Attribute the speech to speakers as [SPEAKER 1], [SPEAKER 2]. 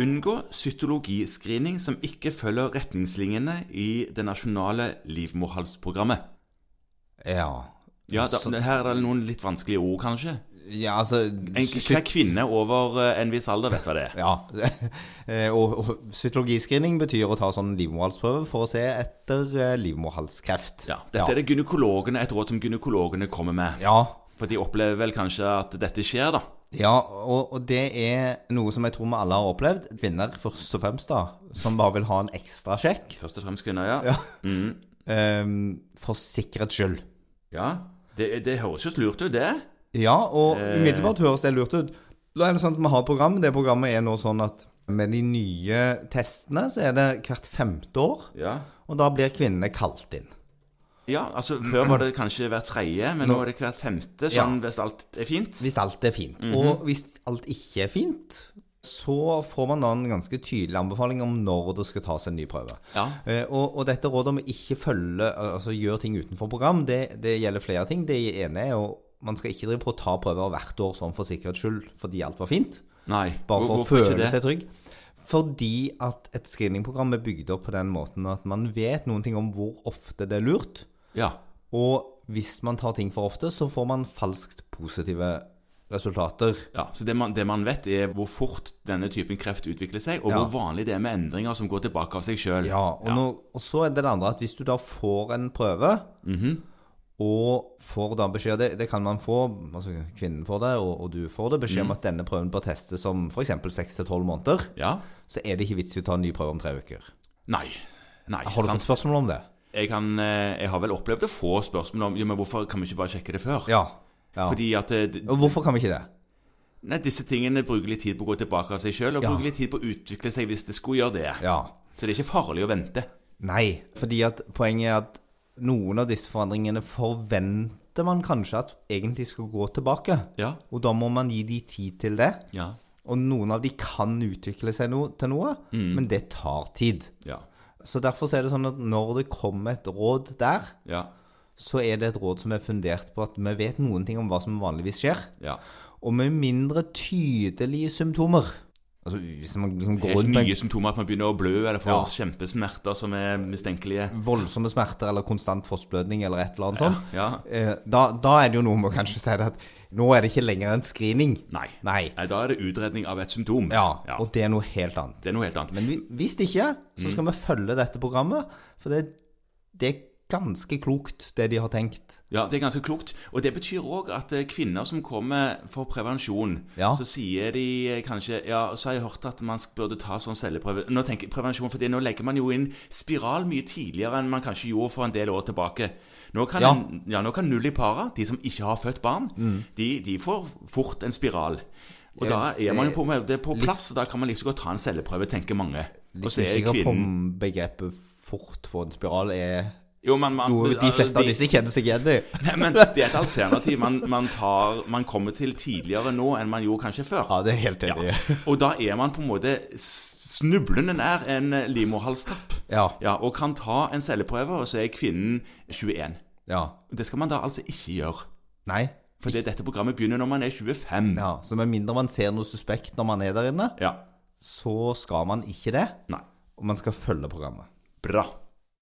[SPEAKER 1] unngå cytologiscreening som ikke følger retningslinjene i det nasjonale livmorhalsprogrammet.
[SPEAKER 2] Ja.
[SPEAKER 1] Ja, da, Her er det noen litt vanskelige ord, kanskje.
[SPEAKER 2] Ja, altså
[SPEAKER 1] En
[SPEAKER 2] sy-
[SPEAKER 1] hver kvinne over eh, en viss alder vet hva det er.
[SPEAKER 2] Ja. Eh, og, og cytologiscreening betyr å ta sånn livmorhalsprøve for å se etter eh, livmorhalskreft.
[SPEAKER 1] Ja, dette er det gynekologene, et råd som gynekologene kommer med.
[SPEAKER 2] Ja.
[SPEAKER 1] For de opplever vel kanskje at dette skjer, da.
[SPEAKER 2] Ja, og, og det er noe som jeg tror vi alle har opplevd. Kvinner først og fremst, da, som bare vil ha en ekstra sjekk.
[SPEAKER 1] Først og fremst kvinner, ja.
[SPEAKER 2] ehm, for sikkerhets skyld.
[SPEAKER 1] Ja, Det, det høres jo lurt ut, det.
[SPEAKER 2] Ja, og
[SPEAKER 1] Eh.
[SPEAKER 2] umiddelbart høres det lurt ut. Da er det sånn at vi har program. Det programmet er nå sånn at med de nye testene så er det hvert femte år.
[SPEAKER 1] Ja.
[SPEAKER 2] Og da blir kvinnene kalt inn.
[SPEAKER 1] ja, altså Før var det kanskje hver tredje, men nå er det hvert femte, sånn hvis alt er fint.
[SPEAKER 2] Hvis alt er fint.
[SPEAKER 1] Mhm.
[SPEAKER 2] Og hvis alt ikke er fint, så får man da en ganske tydelig anbefaling om når det skal tas en ny prøve.
[SPEAKER 1] Ja.
[SPEAKER 2] Eh, og, og dette rådet om ikke følge, altså gjør ting utenfor program, det, det gjelder flere ting. Det ene er jo man skal ikke drive på å ta prøver hvert år sånn for sikkerhets skyld fordi alt var fint.
[SPEAKER 1] Nei, hvor-
[SPEAKER 2] Bare for å
[SPEAKER 1] hvorfor ikke
[SPEAKER 2] føle
[SPEAKER 1] det?
[SPEAKER 2] seg trygg. Fordi at et screeningprogram er bygd opp på den måten at man vet noen ting om hvor ofte det er lurt.
[SPEAKER 1] Ja.
[SPEAKER 2] Og hvis man tar ting for ofte, så får man falskt positive resultater.
[SPEAKER 1] ja. Så det man, det man vet, er hvor fort denne typen kreft utvikler seg, og
[SPEAKER 2] Ja.
[SPEAKER 1] hvor vanlig det er med endringer som går tilbake av seg sjøl.
[SPEAKER 2] Ja, og, Nå, og så er det det andre at hvis du da får en prøve, Mhm. og får da beskjed det, det kan man få, altså kvinnen får det, og, og du får det, beskjed om at denne prøven bør testes om f.eks. 6-12 måneder,
[SPEAKER 1] ja.
[SPEAKER 2] så er det ikke vits i å ta en ny prøve om tre uker.
[SPEAKER 1] Nei. Nei,
[SPEAKER 2] Har du fått spørsmål om det?
[SPEAKER 1] jeg, kan, eh, jeg har vel opplevd å få spørsmål om jo, men hvorfor kan vi ikke bare sjekke det før.
[SPEAKER 2] Ja. ja.
[SPEAKER 1] Fordi at eh, d-
[SPEAKER 2] Og hvorfor kan vi ikke det?
[SPEAKER 1] nei, disse tingene bruker litt tid på å gå tilbake av seg sjøl, og
[SPEAKER 2] Ja.
[SPEAKER 1] bruker litt tid på å utvikle seg hvis det skulle gjøre det.
[SPEAKER 2] Ja.
[SPEAKER 1] Så det er ikke farlig å vente.
[SPEAKER 2] Nei, fordi at poenget er at noen av disse forandringene forventer man kanskje at egentlig skal gå tilbake.
[SPEAKER 1] Ja.
[SPEAKER 2] Og da må man gi de tid til det.
[SPEAKER 1] Ja.
[SPEAKER 2] Og noen av de kan utvikle seg no til noe,
[SPEAKER 1] Mm.
[SPEAKER 2] men det tar tid.
[SPEAKER 1] Ja.
[SPEAKER 2] Så derfor så er det sånn at når det kommer et råd der,
[SPEAKER 1] Ja.
[SPEAKER 2] så er det et råd som er fundert på at vi vet noen ting om hva som vanligvis skjer.
[SPEAKER 1] ja.
[SPEAKER 2] Og med mindre tydelige symptomer Altså hvis man liksom går
[SPEAKER 1] Helt
[SPEAKER 2] rundt med
[SPEAKER 1] nye symptomer at man begynner å blø eller får
[SPEAKER 2] Ja.
[SPEAKER 1] kjempesmerter som er mistenkelige.
[SPEAKER 2] voldsomme smerter eller konstant fossblødning eller et eller annet sånt,
[SPEAKER 1] Ja.
[SPEAKER 2] eh, da, da er det jo noe med å kanskje si det at nå er det ikke lenger en screening.
[SPEAKER 1] Nei.
[SPEAKER 2] Nei.
[SPEAKER 1] Da er det utredning av et symptom.
[SPEAKER 2] Ja, og det er noe helt annet.
[SPEAKER 1] Det er noe helt annet.
[SPEAKER 2] Men vi- hvis ikke, så
[SPEAKER 1] Mm.
[SPEAKER 2] skal vi følge dette programmet, for det, det er ganske klokt det de har tenkt.
[SPEAKER 1] Ja, Det er ganske klokt. Og det betyr òg at eh, kvinner som kommer for prevensjon,
[SPEAKER 2] Ja.
[SPEAKER 1] så sier de eh, kanskje Ja, så har jeg hørt at man sk- burde ta sånn celleprøve. Nå tenker jeg prevensjon, for det, nå legger man jo inn spiral mye tidligere enn man kanskje gjorde for en del år tilbake. Nå kan,
[SPEAKER 2] Ja. Mm.
[SPEAKER 1] en- ja, nå kan null i para, de som ikke har født barn, de, de får fort en spiral. Og da er man jo på, det er på plass, og da kan man like så godt ta en celleprøve, tenker mange. Og
[SPEAKER 2] Litt
[SPEAKER 1] så er
[SPEAKER 2] usikker på
[SPEAKER 1] kvinnen
[SPEAKER 2] om begrepet fort få en spiral er
[SPEAKER 1] jo, men altså, man,
[SPEAKER 2] noe de fleste av disse kjenner seg igjen i.
[SPEAKER 1] Nei, men det er et alternativ man, man, tar, man kommer til tidligere nå enn man gjorde kanskje før.
[SPEAKER 2] Ja, det er jeg helt enig i.
[SPEAKER 1] Ja. Og da er man på en måte s- snublende nær en livmorhalstapp.
[SPEAKER 2] Ja.
[SPEAKER 1] Ja, og kan ta en celleprøve, og så er kvinnen 21.
[SPEAKER 2] Ja.
[SPEAKER 1] Det skal man da altså ikke gjøre.
[SPEAKER 2] Nei.
[SPEAKER 1] For det, dette programmet begynner når man er 25.
[SPEAKER 2] Ja, så med mindre man ser noe suspekt når man er der inne,
[SPEAKER 1] Ja.
[SPEAKER 2] så skal man ikke det.
[SPEAKER 1] Nei.
[SPEAKER 2] Og man skal følge programmet.
[SPEAKER 1] Bra.